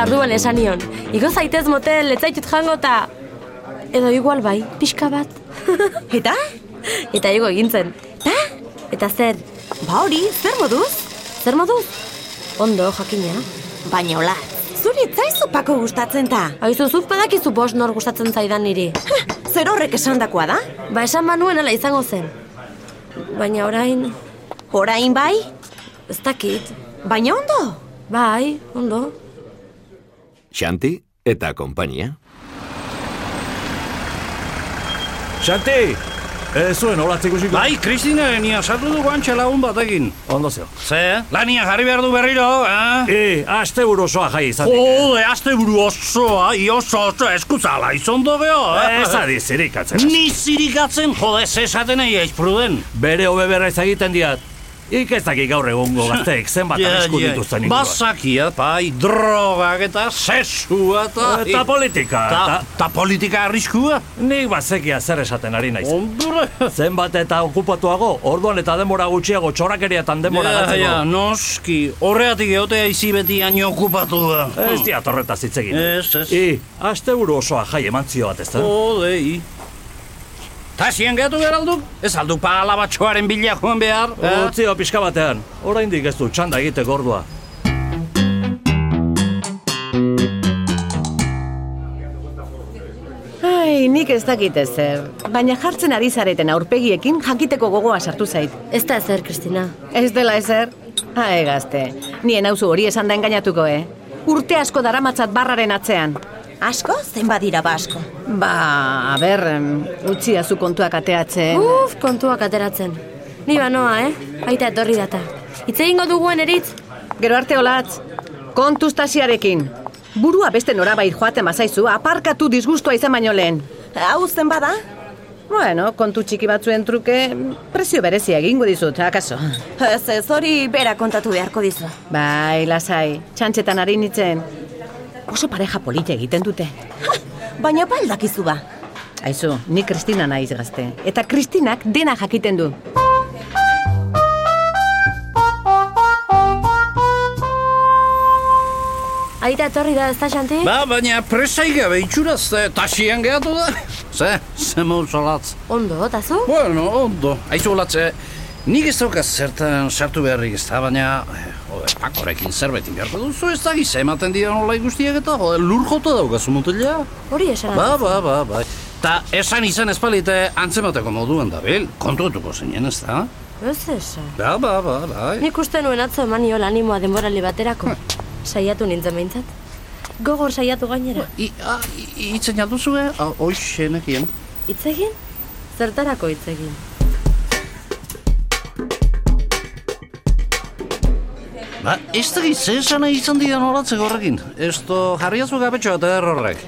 Orduan esan nion, igo zaitez motel, etzaitut jango eta... Edo igual bai, pixka bat. Eta? Eta igo egintzen. Ta? Eta zer, Ba hori, zer moduz? zer moduz? Ondo, jakina. Baina hola, zuri etzaizu pako gustatzen ta. Aizu, zuk badakizu bost nor gustatzen zaidan niri. Ha, Zer horrek esandakoa da? Ba, esan banuen ala izango zen. Baina orain, Orain bai? ez dakit. Baina ondo? Bai, ondo. Xanti eta konpainia. Xanti! Ez zuen olatzeko ziko? Bai, Kristina, nia sartu du guantxe lagun batekin. Ondo zeo. Ze, lania jarri behar du berriro, eh? E, aste burosoa jai izatik. Jode, aste buru osoa, ioso oso eskuzala, izondo geho, eh? Ez adi zirikatzen. Ni zirikatzen, jode, ze esaten nahi eiz pruden. Bere hobe berra ez egiten diat. Ik ez dakik gaur egungo gazteek zenbat Ja, arrisku ja. dituzten inguruan. Bazakia, pai, drogak eta sesua eta... Eh, Eta politika, Ah, Ta, eta... ta politika arriskua? Nik bazekia zer esaten ari naiz. Ondure! Zenbat eta okupatuago, orduan eta denbora gutxiago txorakeriatan denbora Ja, gatzeko. ja, noski, horreatik egotea izi beti hain okupatu da. Ez E, diat horretaz hitz egin. Ez, Oh. ez. I, aste buru osoa jai eman zio bat ez da? Odei. Ta zien gehiatu behar alduk? Ez alduk pala batxoaren bila joan behar? eh? Utzio pixka batean, oraindik ez du txanda egiteko ordua. Ai, nik ez dakit ezer. Baina jartzen ari zareten aurpegiekin jakiteko gogoa sartu zait. Ez da ezer, Kristina. Ez dela ezer? Ae, gazte. Nien hauzu hori esan da engainatuko, eh? Urte asko daramatzat barraren atzean. Asko, zein badira ba asko. Ba, a ber, em, utziazu kontuak ateatzen. Uf, kontuak ateratzen. Ni banoa, eh? Aita etorri data. Itze egingo duguen eritz? Gero arte olatz, kontustasiarekin. Burua beste norabait joaten bazaizu, aparkatu disgustua izan baino lehen. Hau zen bada? Bueno, kontu txiki batzuen truke, prezio berezia egingo dizut, akaso. Ez ez hori bera kontatu beharko dizu. Bai, lasai, txantxetan ari nintzen. Oso pareja polita egiten dute. Ha, Baina baldakizu ba. Aizu, ni Kristina naiz gazte. Eta Kristinak dena jakiten du. Aita etorri da, ez da, Xanti? Ba, baina presai gabe itxuraz, eh, ta zien gehiatu da? Ze, ze mauzolatz. Ondo, eta zu? Bueno, ondo. Aizu olatz, eh, nik ez daukaz zertan sartu beharrik ez da, baina... eh, Jode, pakorekin zerbetin beharko duzu ez da giza ematen dira nola ikustiak eta jode, lur jota daukazu mutila. Hori esan. Ba, ba, ba, ba. Ta esan izan espalite antzemateko moduan da, bil? Kontuetuko zinen ez da? Ez esan. Ba, ba, ba, ba. Nik uste nuen atzo eman niola animoa denborali baterako. Saiatu nintzen behintzat. Gogor saiatu gainera. I, a, i, itzen jaduzu, eh? Hoxe nekien. Hitz egin? Zertarako hitz egin? Ba, ez da gitze esan nahi izan didan horatzeko horrekin. Ez to jarriazu gabetxo eh, eta errorrek.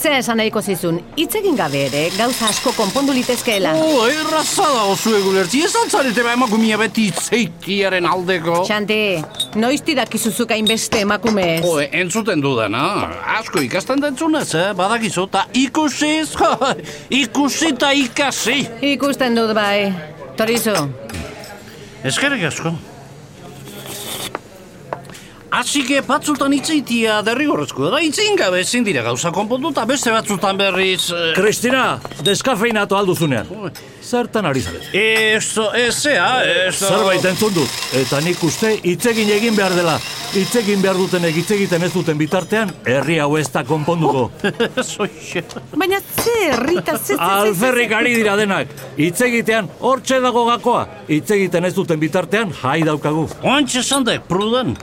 Zer esan nahiko zizun, hitz egin gabe ere, gauza asko konpondu litezkeela. Oh, erraza da ozu egulertzi, ez altzarete ba emakumia beti zeitiaren aldeko. Xanti, noiz tidak izuzuk hainbeste emakumez. Jo, entzuten dudana, asko ikasten da entzunez, eh? Badakizu, eta ikusiz, ikusi eta ikasi. Ikusten dut bai. Torizu, Eskerrik asko. Azike batzutan itzeitia derrigorrezko da, itzein gabe ezin dira gauza konpontu eta beste batzutan berriz... Eh, Kristina, deskafeinatu alduzunean. Zertan ari zaret? ez, ez, zea, ez... Zerbait eh? entzun dut, eta nik uste hitzegin egin behar dela. Hitzegin behar dutenek hitz egiten ez duten bitartean, herri hau ez da konponduko. Zoxe. baina zer, Rita, zer, zer, zer, zer, Alferrik ari dira denak. Hitz egitean hortxe dago gakoa. Hitz egiten ez duten bitartean jai daukagu. Oantxe zandek, pruden.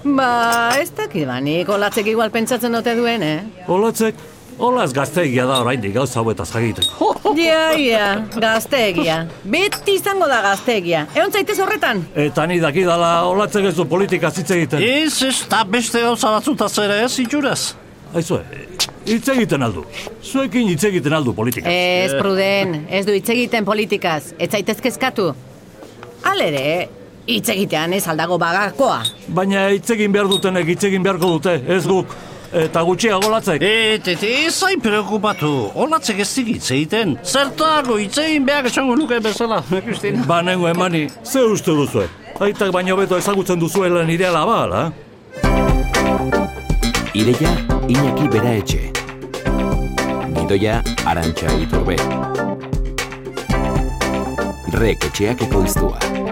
Ba, ez dakit ba, nik olatzek igual pentsatzen dute duen, eh? Olatzek, olaz gaztegia da oraindik gauza hauetaz jagiteko. Ja, ja, gaztegia. Oh. Beti izango da gaztegia. Egon zaitez horretan? Eta ni dakidala olatzek ez du politika hitz egiten. Ez, ez, eta beste gauza batzutaz ere ez, itxuraz. Aizue, hitz egiten aldu. Zuekin hitz egiten aldu politika. Ez, pruden, ez du hitz egiten politikaz. Ez zaitez kezkatu. Alere, hitz egitean ez aldago bagakoa. Baina hitz egin behar dutenek hitz egin beharko dute, ez guk. Eta gutxiago olatzek. Et, et, ez zain preokupatu, olatzek ez dik itzeiten. Zertago itzein behar esango nuke bezala, Kristina. Banengo Ba, emani, ze uste duzue? Aitak baino beto ezagutzen duzuela nire alaba, ala? Ideia, Iñaki Bera Etxe. Gidoia, Arantxa Iturbe. Rek etxeak ekoiztua.